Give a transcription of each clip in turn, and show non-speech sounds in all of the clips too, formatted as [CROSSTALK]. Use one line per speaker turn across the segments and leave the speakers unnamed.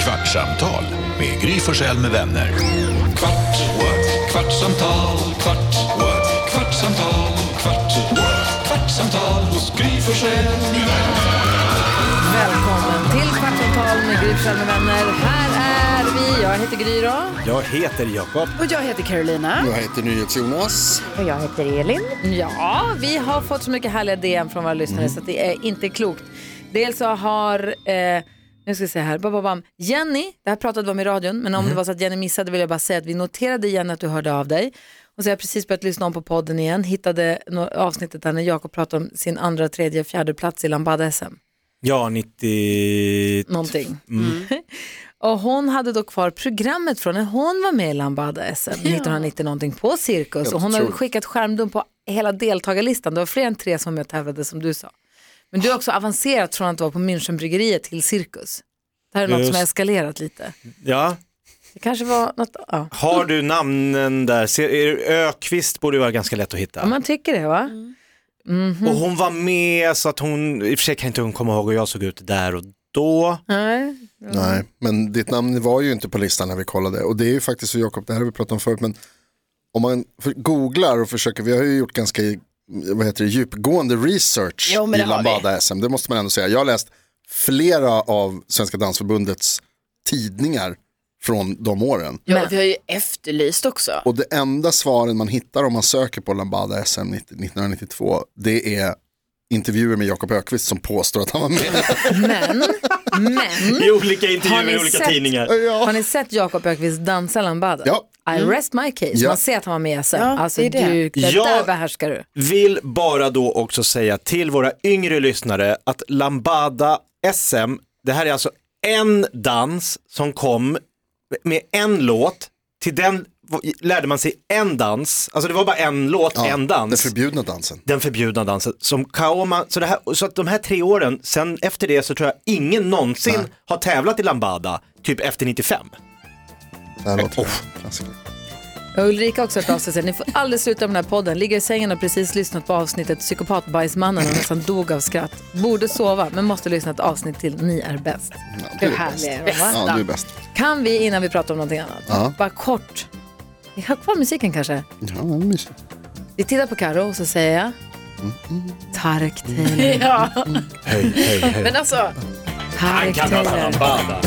Kvartsamtal med Gry Forssell med vänner. Kvart, what? kvartsamtal, kvart, what? kvartsamtal, kvart, what? kvartsamtal hos Gry Forssell med vänner.
Välkommen till Kvartsamtal med Gry Forssell med vänner. Här är vi. Jag heter Gry då.
Jag heter Jakob.
Och jag heter Carolina.
Jag heter NyhetsJonas.
Och jag heter Elin.
Ja, vi har fått så mycket härliga DM från våra lyssnare så att det är inte klokt. Dels så har, eh, nu ska vi se här, bam, bam, bam. Jenny, det här pratade vi om i radion, men om det var så att Jenny missade vill jag bara säga att vi noterade Jenny att du hörde av dig. Och så har jag precis börjat lyssna om på podden igen, hittade nå- avsnittet där när Jakob pratade om sin andra, tredje, fjärde plats i Lambada-SM.
Ja, 90...
någonting.
Typ. Mm.
[LAUGHS] och hon hade då kvar programmet från när hon var med i Lambada SM 1990 någonting på Cirkus och hon har
otroligt.
skickat skärmdump på hela deltagarlistan. Det var fler än tre som jag tävlade som du sa. Men du har också avancerat från att vara på Münchenbryggeriet till Cirkus. Det här är något
Just.
som har eskalerat lite.
Ja.
Det kanske var något, ja.
Har du namnen där? Ser- är det- Ökvist borde ju vara ganska lätt att hitta.
ja man tycker det va?
Mm.
Mhm.
Och hon var med så att hon, i och för sig kan inte hon komma ihåg hur jag såg ut där och då.
Nej.
Nej, men ditt namn var ju inte på listan när vi kollade. Och det är ju faktiskt så, Jakob, det här har vi pratat om förut, men om man för- googlar och försöker, vi har ju gjort ganska vad heter det, djupgående research
Jo, men
i
det har vi.
Lambada-SM, det måste man ändå säga. Jag har läst flera av Svenska Dansförbundets tidningar från de åren.
Ja, och vi har ju efterlyst också.
Och det enda svaren man hittar om man söker på Lambada SM 90 1992, det är intervjuer med Jakob Ökvist som påstår att han var med.
Men, men.
I
Mm.
olika
Har ni
intervjuer i olika
sett-
tidningar.
Har ni sett Jakob Ökvist dansa Lambada?
Ja.
I
Mm.
rest my case.
Ja.
Man ser att han var med i SM.
Ja,
alltså
det är det.
du, det
Ja.
där behärskar du.
Vill bara då också säga till våra yngre lyssnare att Lambada SM, det här är alltså en dans som kom med en låt, till den lärde man sig en dans, alltså det var bara en låt, en
Den
dans.
förbjudna dansen.
den förbjudna dansen som Kaoma, så, det här, så att de här tre åren, sen efter det så tror jag ingen någonsin har tävlat i Lambada, typ efter 95.
Det här låter
Oh.
klassiker.
Och Ulrika har också hört av sig och säger, ni får aldrig sluta med den här podden. Ligger i sängen och precis lyssnat på avsnittet Psykopatbajsmannen och nästan dog av skratt. Borde sova men måste lyssna ett avsnit till Ni är bäst.
du
Hur
är
härlig
bäst.
är de, va?
Ja, du är bäst.
Kan vi innan vi pratar om någonting annat,
Ja.
bara kort, vi har kvar musiken kanske.
Ja, det är mysigt.
Vi tittar på Karo och så säger jag, Tarek Taylor.
Ja,
Hej, hej,
[LAUGHS]
hej.
men alltså,
Tarek Taylor.
Lambada.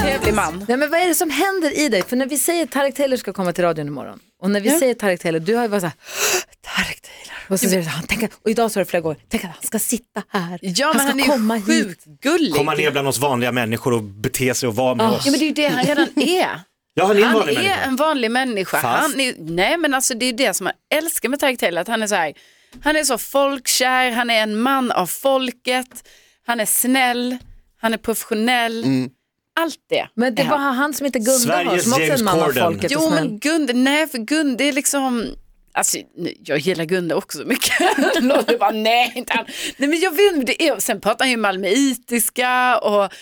trevlig man.
Nej, men vad är det som händer i dig? För när vi säger Tarek Taylor ska komma till radion imorgon och när vi säger Tarek Taylor, du har ju varit så här, Tarek Taylor. Och, så säger du, så här, han, tänker, och idag sa du flera gånger, tänk att han ska sitta här.
Ja, men
ska
han är
Alltså, komma
ju
hit.
sjukt gullig.
Komma ner bland oss vanliga människor och bete sig och vara med oss.
Ja, men det är ju det
[LAUGHS]
han redan är.
Ja, han är en
Han
vanlig
är
människa.
en vanlig människa.
Fast-
Han är, nej, men alltså det är ju det som man älskar med Tareq Taylor, att han är så här, han är så folkkär, han är en man av folket, han är snäll, han är professionell,
Mm.
allt det.
Men det
är
var
han.
han som inte Gunde har,
Sveriges
som också är
James
en man av
Corden.
folket. och
Jo,
snäll.
men Gunde, nej, för Gunde är liksom, alltså nu- jag gillar Gunde också så mycket. [LAUGHS] Det låter bara, nej, inte han. Nej, men jag vet inte, det är, sen pratar han ju malmöitiska och,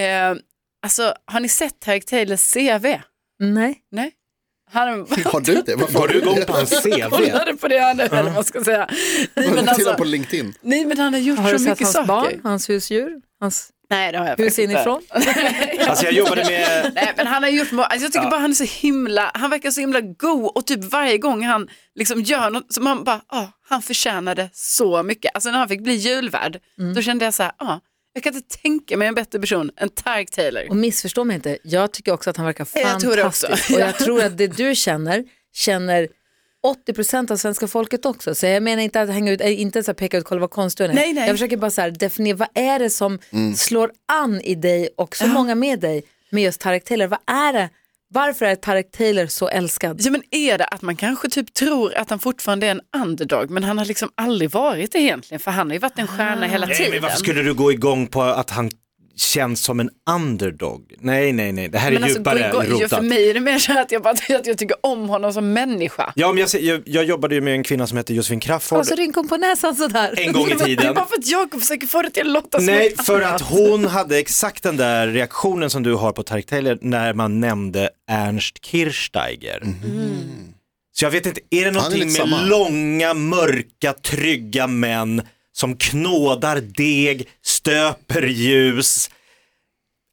eh, alltså har ni sett Tareq Taylors CV?
Nej.
Nej. Han,
Har du det? Varför
Går du
[LAUGHS]
igång på hans
[LAUGHS]
CV?
kollade på det [LAUGHS] han eller vad man ska säga. Nej men,
Titta
alltså,
på LinkedIn.
nej men han har gjort
Har du
så
sett
mycket
hans
saker.
barn, hans husdjur, hans
Nej det har jag
hus
faktiskt inte.
inifrån?
Alltså jag jobbade med,
Nej men han har gjort, må- alltså, jag tycker bara han är så himla, han verkar så himla go och typ varje gång han liksom gör något så man bara, ah, han förtjänade så mycket. Alltså när han fick bli julvärd,
Mm.
då kände jag så här, ah, jag kan inte tänka mig en bättre person än Tareq Taylor.
Och missförstå mig inte, jag tycker också att han verkar
Jag tror det
fantastisk.
också. [LAUGHS]
Och jag tror att det du känner, känner 80% av svenska folket också. Så jag menar inte att hänga ut, äh, inte så här peka ut, kolla vad konstig hon är.
Nej, nej.
Jag försöker bara så här definiera, vad är det som
Mm.
slår an i dig och så många med dig med just Tarek Taylor? Vad är det? Varför är Tarek Taylor så älskad?
Ja men är det att man kanske typ tror att han fortfarande är en underdog men han har liksom aldrig varit det egentligen för han har ju varit en stjärna hela
nej,
tiden.
men varför skulle du gå igång på att han känns som en underdog? Nej, nej, nej, det här är
Men alltså,
djupare
gå- gå-
rotat.
för mig är det mer så här att jag, bara, [LAUGHS] att jag tycker om honom som människa.
Ja, men jag, ser- jag, jag jobbade ju med en kvinna som hette Josefin Crafoord
Och så rynkar hon på näsan sådär.
en
[LAUGHS]
gång i
Alltså, Det är
tiden.
bara för att Jakob försöker få det till att låta som
Nej,
något
för
annat.
att
[LAUGHS]
hon hade exakt den där reaktionen som du har på Tareq Taylor när man nämnde Ernst Kirchsteiger.
Mhm.
Så jag vet inte, är det någonting med
Mm. lite samma.
långa, mörka, trygga män som knådar deg, stöper ljus,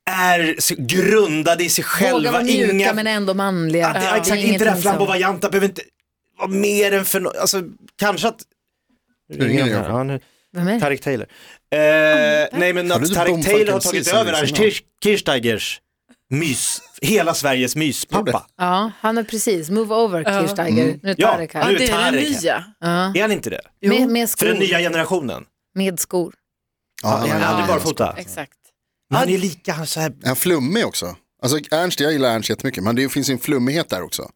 är så grundade i sig själva.
Våga vara mjuka
Inga-
men ändå manliga.
Ja, det, ja, exakt, inte det där flamboyanta, behöver inte vara mer än för no- alltså kanske att...
Nu ringer jag.
Ja, nu-
Vem är det?
Tareq Taylor. Eh, nej men
Har du
att Tareq
bombat
Taylor har
MC
tagit
sen
över
liksom?
Ernst Kirch- Kirchsteigers mys, hela Sveriges
Gjorde.
myspappa.
Ja, han är precis, move over Kirchsteiger. Nu är
Mm. Ja.
Tarek
Ja,
här.
Nu är
det är den
Tarek här.
nya.
Ja.
Är han inte det?
Med, med
För den nya
skor.
generationen.
Med skor.
Ja, han,
Han är
är-
aldrig barfota.
Exakt.
Men han är lika, han är så här,
är han flummig också? Alltså Ernst, jag gillar Ernst jättemycket, men det finns ju en flummighet där också.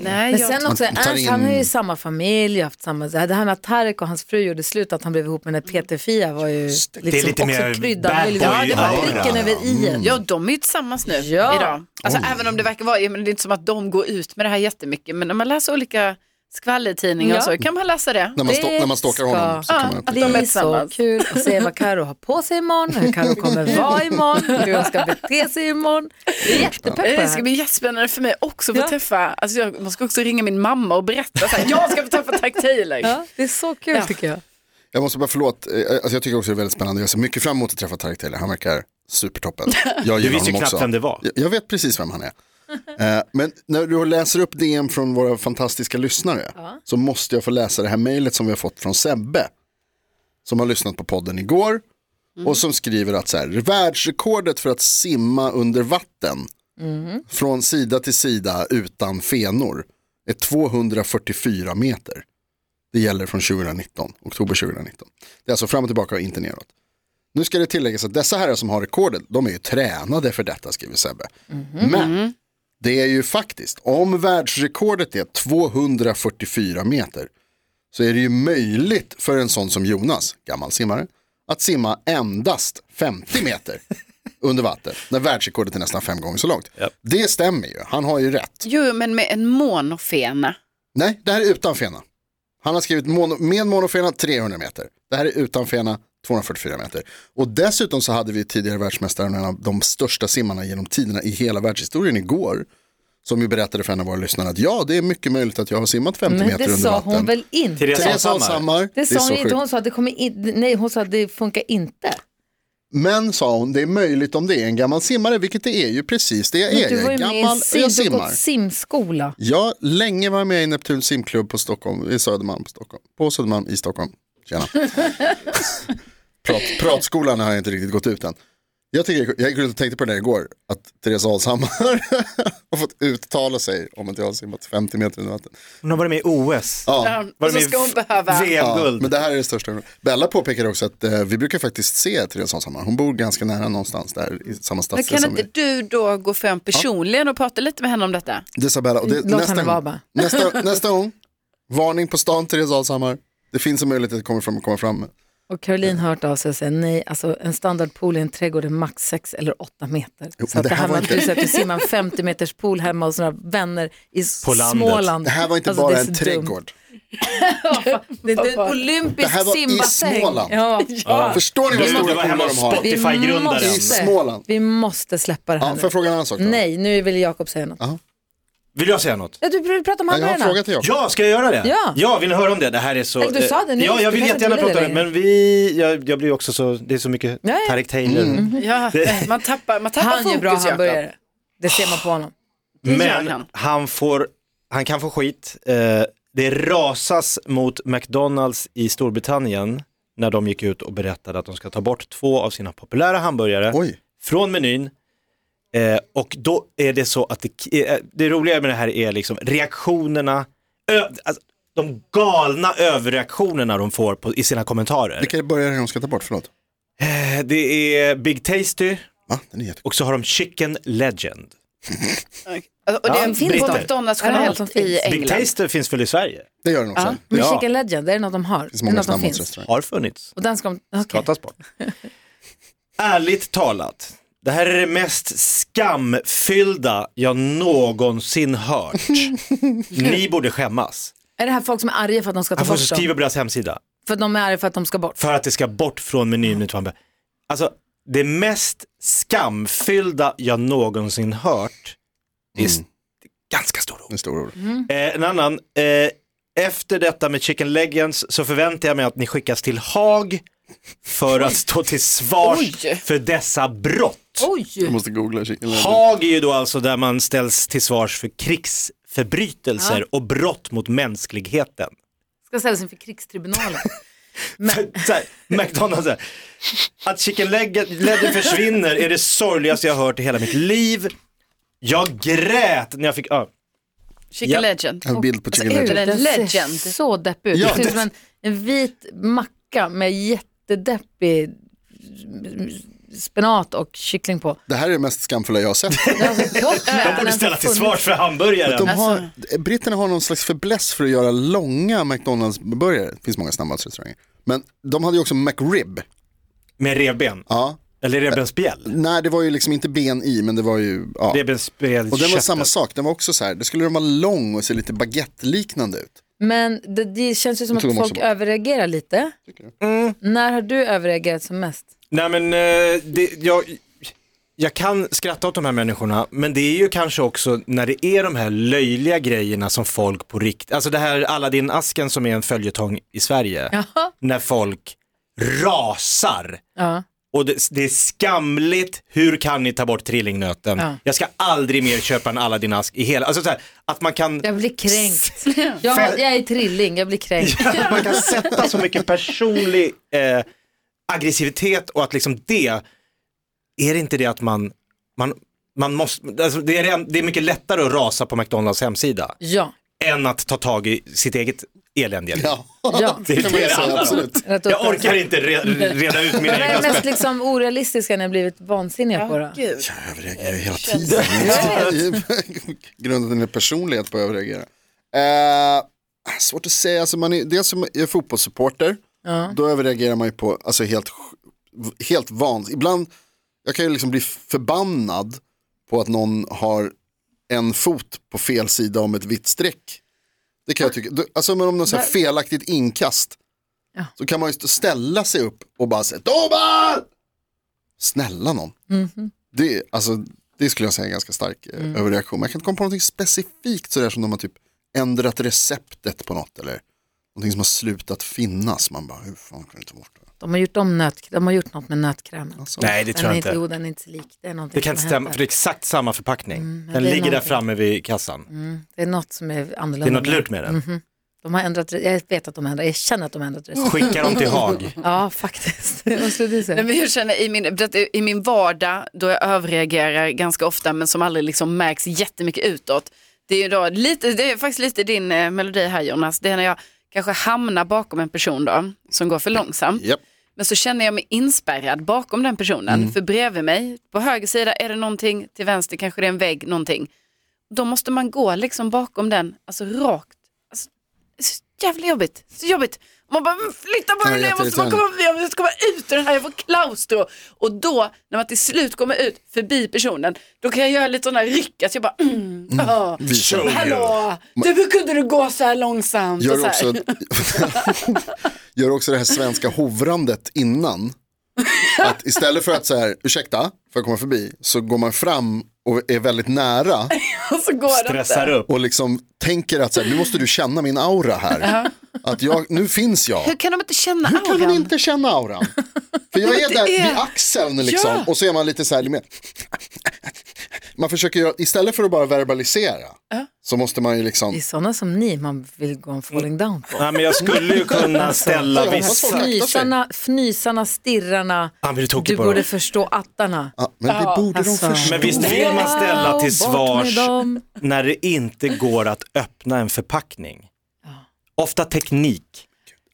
Nej,
Men
jag
sen också,
Man tar
Ernst
in-
han har ju samma familj, haft samma, det här med att Tarek och hans fru gjorde slut, att han blev ihop med den
Mm.
här Peter-Fia var ju liksom
är lite
också
mer
kryddan.
bad
med lite-
boy Mm.
ja, det var
aura.
pricken över i.
Ja, de är ju tillsammans nu
Ja.
idag. Alltså även om det verkar vara, men det är inte som att de går ut med det här jättemycket, men när man läser olika skvallertidningar och
Ja.
så kan man läsa det.
När man, stå,
Det
när man stalkar honom så
ska-
kan man
Ja,
titta.
Det
De är
är så
tillsammans.
kul att se vad Karo har på sig imorgon, hur Karo
[LAUGHS]
kommer vara imorgon, hur hon ska bete sig imorgon. Jag är jättepepp på det
Det ska
här.
bli jättespännande för mig också att få
Ja.
träffa, alltså jag, man ska också ringa min mamma och berätta så här, jag ska få träffa Tack Taylor.
Ja, det är så kul
Ja.
tycker jag.
Jag måste bara förlåt, eh, alltså jag tycker också det är väldigt spännande. Jag ser mycket fram emot att träffa Tareq Taylor, han verkar supertoppen. Jag
du
gillar
visste ju
honom
knappt
också.
vem det var.
Jag- Jag vet precis vem han är. Eh, Men när du läser upp DM från våra fantastiska lyssnare så måste jag få läsa det här mejlet som vi har fått från Sebbe. Som har lyssnat på podden igår och som skriver att så här, världsrekordet för att simma under vatten från sida till sida utan fenor är 244 meter. Det gäller från 2019, oktober 2019. Det är alltså fram och tillbaka och inte neråt. Nu ska det tilläggas att dessa herrar som har rekordet, de är ju tränade för detta, skriver Sebbe. Men det är ju faktiskt, om världsrekordet är 244 meter, så är det ju möjligt för en sån som Jonas, gammal simmare, att simma endast 50 meter under vatten, när världsrekordet är nästan fem gånger så långt. Det stämmer ju, han har ju rätt.
Jo, men med en monofena.
Nej, det här är utan fena. Han har skrivit mono, med monofena 300 meter. Det här är utan fena 244 meter. Och dessutom så hade vi tidigare världsmästaren, en av de största simmarna genom tiderna i hela världshistorien igår. Som ju berättade för en av våra lyssnare att ja, det är mycket möjligt att jag har simmat 50
Men
meter
det
under
sa
vatten.
hon väl inte?
Therese
Therese Alshammar,
Det
är
sa
så
hon inte,
sjukt.
hon sa att det kommer in, nej hon sa att det funkar inte.
Men sa hon, det är möjligt om det är en gammal simmare, vilket det är ju precis det jag
Men
är.
du
Jag
var ju
är
med i en
gammal och jag
sim, du har
simmar.
gått simskola.
Jag länge var med i Neptun simklubb på Stockholm, i Södermalm, på Stockholm. På Södermalm i Stockholm. Tjena. Prat, pratskolan har jag inte riktigt gått ut än. Jag, tycker, jag gick runt och tänkte på det där igår, att Therese Alshammar [LAUGHS] har fått uttala sig om att jag har simmat 50 meter under vatten.
Hon har varit med i OS.
Ja,
Och så ska hon behöva.
ja,
VM-guld.
men det här är det största. Bella påpekade också att eh, vi brukar faktiskt se Therese Alshammar, hon bor ganska nära någonstans där i samma
Men
stadsdel
kan
som
inte
vi.
du då gå fram personligen och prata lite med henne om detta?
Det sa Bella. Och det,
Låt henne
nästa,
vara
gång,
bara.
[LAUGHS] nästa, nästa gång, varning på stan Therese Alshammar. Det finns en möjlighet att det kommer fram. Kommer fram.
Och Caroline har hört av sig och säger nej, alltså en standardpool i en trädgård är max 6 eller 8 meter.
Jo,
så att
det
det
här
här med
var
att
inte-
du säger att du simmar en 50 meters pool hemma hos några vänner i
På landet.
Småland.
Det här var inte
Alltså,
bara
det är
en
så dumt.
trädgård.
Det är en olympisk
Det här var i
simbassäng.
Småland.
Ja.
Förstår ni vad
Du, du
stora
var hemma
polar
hos
de har?
Vi
Spotify-grundaren.
I
måste,
Småland.
vi måste släppa det här
Ja, får jag fråga en annan sak? Då?
nu. Nej, nu vill Jakob säga något.
Vill jag säga något?
Ja, du vill prata om
Ja, Jag har en
hamburgarna.
fråga till Jakob.
Ja, ska jag göra det?
Ja.
vill ni höra om det? Det här är så...
Eller du sa det nu,
Ja, jag
du
vill
kan
jättegärna
inte vilja
prata om
det
det, men vi... Jag, jag blir också så... Det är så mycket
Ja, ja. Mm.
Tareq Taylor.
Ja, man tappar, man tappar
Han gör
fokus.
bra
Jakob.
hamburgare. Det ser man på honom.
gör
Men
han.
han, får, han kan få skit. Eh, det rasas mot McDonalds i Storbritannien när de gick ut och berättade att de ska ta bort två av sina populära hamburgare
Oj,
från menyn. Eh, och då är det så att det, eh, det roliga med det här är liksom reaktionerna, ö, alltså, de galna överreaktionerna de får på, i sina kommentarer.
vilka börjar de ska ta bort? Förlåt.
Eh, det är Big Tasty
Va? Den är jättegod.
och så har de Chicken Legend.
Alltså, Och det
Ja,
finns på
britter.
McDonalds
Ja, det är allt som
generellt i
finns.
Big
England.
Tasty finns väl i Sverige?
Det gör den också.
Men
Ja.
Chicken Legend, är det något de har?
Det
Det
finns
är
många
något som finns.
snabbmatsrestauranger.
Har funnits.
Och den ska de... okej.
pratas bort. [LAUGHS] Ärligt talat, det här är det mest skamfyllda jag någonsin hört. Ni borde skämmas.
Är det här folk som är arga för att de ska ta
Han får
bort
så skriva
dem?
på deras hemsida
För att de är arga för att de ska bort?
för att det ska bort från menyn. med Twan Berg. Alltså, det mest skamfyllda jag någonsin hört, det är s- ganska stor
En stor ord.
Eh, en annan, eh, efter detta med Chicken Legends så förväntar jag mig att ni skickas till Haag för att stå till svars
Oj.
för dessa brott. brott.
Jag
Oj!
måste googla. och kika. Eller-
Hag är ju då alltså där man ställs till svars för krigsförbrytelser och brott mot mänskligheten.
Ska ställas inför
[LAUGHS]
krigstribunalen.
Så här, McDonalds, så här. att chicken legget- leggen försvinner är det sorgligaste jag har hört i hela mitt liv. Jag grät när jag fick, ja.
Chicken
Ja.
Legend.
En bild
Alltså,
på Chicken
är det
Legend.
den
den
legend?
ser så deppig ut.
Ja,
det ser ut
det-
som en, en vit macka med jättedeppig spenat och kyckling
[LAUGHS]
på.
Det här är det mest skamfulla jag har [LAUGHS] sett.
Det har så gott alltså med
de
den
borde
som
ställa till
funnits.
svars för hamburgaren.
De har,
Alltså-
britterna har någon slags fäbless för att göra långa McDonalds-burgare. Det finns många snabbmatsrestauranger. Men de hade ju också McRib.
Med revben,
Ja.
eller revbensspjäll.
Nej, det var ju liksom inte ben i, men det var ju... Ja.
Revbensspjäll,
Och den var
köttet.
samma sak, den var också så här, det skulle den vara lång och se lite baguette-liknande ut.
Men det, det känns ju som
Jag tror
att
de
folk
också-
överreagerar lite. När har du överreagerat som mest?
Nej men eh, det, jag, jag kan skratta åt de här människorna, men det är ju kanske också när det är de här löjliga grejerna som folk på riktigt, alltså det här Aladdin-asken som är en följetong i Sverige, när folk rasar.
Ja.
Och det, det är skamligt, hur kan ni ta bort trillingnöten?
Ja.
Jag ska aldrig mer köpa en Aladdin-ask i hela, alltså så här, att man kan
Jag blir kränkt. [LAUGHS] Jag, har- jag är trilling, jag blir kränkt.
[LAUGHS] man kan sätta så mycket personlig eh, aggressivitet och att liksom det, är det inte det att man, man, man måste, alltså det, är, ren- det är mycket lättare att rasa på McDonalds hemsida
Ja,
än att ta tag i sitt eget eländiga liv.
[LAUGHS] Ja,
ja.
[LAUGHS] Det är
kan man ju
det
säga,
handlar om.
absolut.
Rätt upp.
Jag orkar inte re, reda ut mina
Vad är
egna
det mest
spänn.
liksom orealistiska ni har blivit vansinniga på då?
Gud.
Jag överreagerar ju hela tiden. [LAUGHS] Grunden är personlighet på att överreagera. Eh, svårt att säga, alltså man är, dels som jag är fotbollssupporter, då överreagerar man ju på alltså helt, sj- helt vansinnigt. Ibland, jag kan ju liksom bli förbannad på att någon har en fot på fel sida om ett vitt streck. Det kan jag tycka, då- alltså men om någon så här felaktigt inkast, så kan man ju st- ställa sig upp och bara säga domar! Snälla någon. Det, alltså, det skulle jag säga är en ganska stark eh,
Mm.
överreaktion. Men jag kan inte komma på någonting specifikt sådär som de har typ ändrat receptet på något eller någonting som har slutat finnas. Man bara, hur fan kan du ta bort det?
De har gjort, om nöt, de har gjort något med nötkrämen.
Alltså,
[LAUGHS] Nej det
Den
tror
är
jag
inte
inte.
god, den är inte så lik. Det, är någonting
Det kan
som
inte
har
stämma
hänt
för det är exakt samma förpackning.
Mm, men
Den
det är
ligger där
någonting. Mm.
framme vid kassan.
där. det är något som är annorlunda.
Det är något lurt med den.
De har ändrat, jag vet att de har ändrat, jag känner att de har ändrat recept.
Skicka dem
[LAUGHS]
till Haag.
Ja,
[LAUGHS]
faktiskt. Vad skulle du
Nej,
säga?
men jag känner i min, det- i min vardag då jag överreagerar ganska ofta men som aldrig liksom märks jättemycket utåt. Det är, ju då lite, det är faktiskt lite din eh, melodi här Jonas. Det är när jag kanske hamnar bakom en person då, som går för långsamt.
Japp.
Men så känner jag mig inspärrad bakom den personen.
Mm.
För bredvid mig, på höger sida är det någonting, till vänster kanske det är en vägg, någonting. Då måste man gå liksom bakom den, alltså rakt. Alltså, så jävla jobbigt, så jobbigt. Man bara, "Men flytta på
Ja,
mig nu, jag måste bara komma, jag måste komma ut ur den här, jag får klaustro. Och då, när man till slut kommer ut förbi personen, då kan jag göra lite sådana här ryck, att jag bara, mm, ah,
Show you.
hallå, du, hur kunde du gå så här långsamt? och så
Gör
här.
också, gör också det här svenska hovrandet innan. Att istället för att så här, ursäkta, får jag komma förbi? Så går man fram och är väldigt nära
[LAUGHS] Och så går det inte.
Stressar upp.
och liksom tänker att så här, nu måste du känna min aura här. Att jag, nu finns jag.
Hur kan de inte känna
Hur kan man
auran?
inte känna auran? För jag är
det
där
är-
vid axeln liksom
Ja.
och så är man lite så här, med- man försöker göra, istället för att bara verbalisera så måste man ju
Det är
liksom,
sådana som ni man vill gå en falling down på.
Nej men jag skulle ju kunna ställa
jag hoppas
vissa
folk-
Fnysarna, fnysarna, stirrarna,
Han blir tokig
du
på dem.
borde förstå attarna.
ja, "Ah, men det borde
alltså.
de förstå.
Men visst vill man ställa till
Ja, bort
svars
med dem.
när det inte går att öppna en förpackning. Ofta teknik.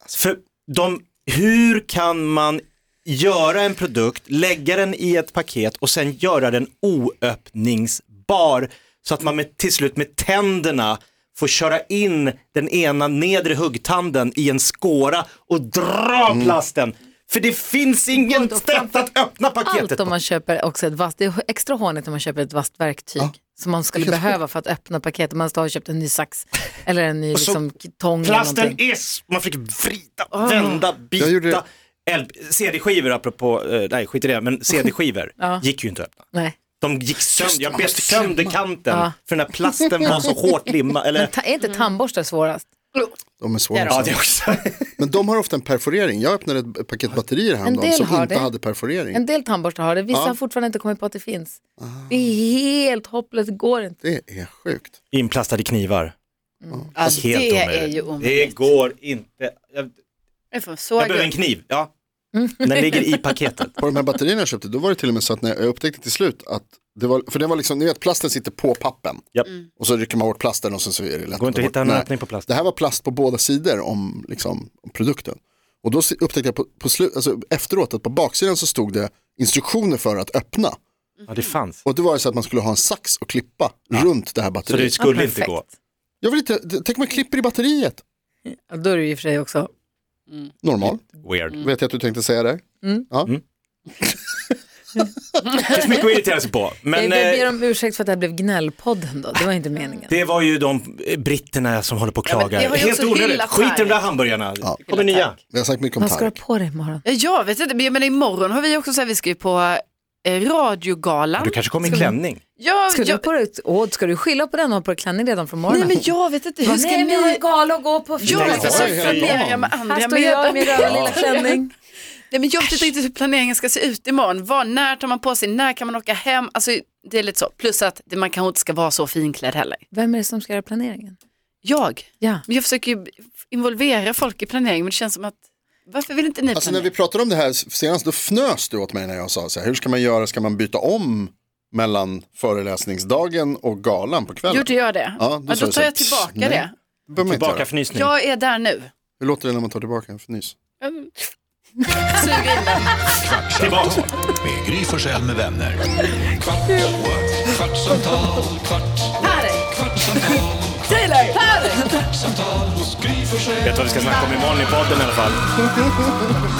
För de, hur kan man göra en produkt, lägga den i ett paket och sen göra den oöppningsbar så att man med, till slut med tänderna får köra in den ena nedre huggtanden i en skåra och dra plasten. För det finns ingen sätt att öppna paketet
Allt
på.
om man köper också ett vasst, det är extra hånigt om man köper ett vasst verktyg som man skulle behöva för att öppna paket om man har köpt en ny sax eller en ny
så
liksom, tång eller
Plasten
någonting.
är, s- man fick vrida, vända, bita.
Jag gjorde
LP CD-skivor apropå, eh, nej skit i det, men CD-skivor gick ju inte att öppna.
Nej.
De gick sönder, jag
man
bet
måste klämma.
sönder kanten för den här plasten var så hårt limma. Eller,
Mm.
Ta, är inte tandborstar svårast?
De är svåra.
Ja, det
att säga.
också. [LAUGHS]
Men de har ofta en perforering. Jag öppnade ett b- paket batterier häromdagen
del
som
har
inte
det.
hade perforering.
En del tandborstar har det, vissa
Ja.
har fortfarande inte kommit på att det finns.
Ah.
Det är helt hopplöst, det går inte.
Det är sjukt.
Inplastade knivar.
Ja,
Helt
Alltså, det
omöjligt.
är ju
Det
omöjligt.
går inte. Jag,
Jag får
jag
såga.
behöver en kniv. Ja. Den ligger i paketet.
På de här batterierna jag köpte, då var det till och med så att när jag upptäckte till slut att det var, för det var liksom, ni vet plasten sitter på pappen.
Japp.
Och så rycker man bort plasten och sen så är det lätt
Går inte att
ta
hitta
bort.
en
Nej.
öppning på plast.
Det här var plast på båda sidor om, liksom, om produkten. Och då se- upptäckte jag på, på slu, alltså, efteråt att på baksidan så stod det instruktioner för att öppna.
Ja, det fanns.
Och det var ju så att man skulle ha en sax och klippa runt det här
Så det
batteriet.
skulle
Ja,
inte gå.
perfekt.
Jag vill inte, det- tänk om man klipper i batteriet.
Ja, då är det ju i och för sig också.
Normalt,
Weird.
vet jag att du tänkte säga det. Ja.
Det finns mycket att irritera sig på. Men
jag ber
eh,
om ursäkt för att det här blev gnällpodden då, det var inte meningen.
det var ju de eh, britterna som håller på och
Ja, men
klagar.
det har ju
Helt
också
onödigt.
hyllats
Skit i de där
här.
hamburgarna.
Ja.
Det kommer nya.
Vi har sagt mycket om
Vad ska du ha
Tarek.
på dig imorgon?
Ja, Jag vet inte, men jag menar imorgon har vi också så här, vi ska ju på eh, radiogalan.
Du kanske kommer i en
Ska vi-
klänning.
Ja,
Ska du ha
jag,
på dig ett åh, ska du skilja på den och ha på dig klänning redan från
nej
morgonen?
men jag vet inte, hur
Vad,
ska
nej,
ni?
men jag har gala att gå på.
Jag
Nej,
vet inte,
det är
jag planerar
helt
med andra
Här står jag i min röda lilla klänning.
Nej, men jag vet inte riktigt hur planeringen ska se ut imorgon. Var, när tar man på sig, när kan man åka hem? Alltså, det är lite så. Plus att det- man kanske inte ska vara så finklädd heller.
Vem är det som ska göra planeringen?
Jag,
Ja.
men jag försöker ju involvera folk i planeringen men det känns som att varför vill inte ni
Alltså när
planera?
vi pratade om det här senast, då fnös du åt mig när jag sa så här, hur ska man göra, ska man byta om mellan föreläsningsdagen och galan på kvällen?
Gjorde jag det?
Ja,
Ja,
då
då,
sa du så
tar
här,
jag tillbaka
"Pss, nej."
det.
Det behöver man inte göra.
Tillbaka förnysning.
Jag är där nu.
Hur låter det när man tar tillbaka en fnys?
Suger in den.
Tillbaka.
Med Gry Forssell med vänner. Kvart, what? kvartsamtal, kvart, what? kvartsamtal, kvartsamtal hos Gry Forssell.
Vet du vad vi ska snacka om imorgon i podden i alla fall?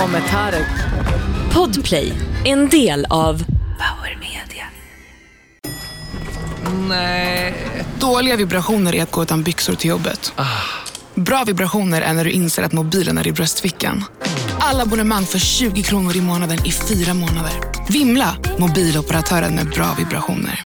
Och med Tarek.
Podplay, en del av
Dåliga vibrationer är att gå utan byxor till jobbet. Bra vibrationer är när du inser att mobilen är i bröstfickan. Alla abonnemang för 20 kronor i månaden i fyra månader. Vimla! Mobiloperatören med bra vibrationer.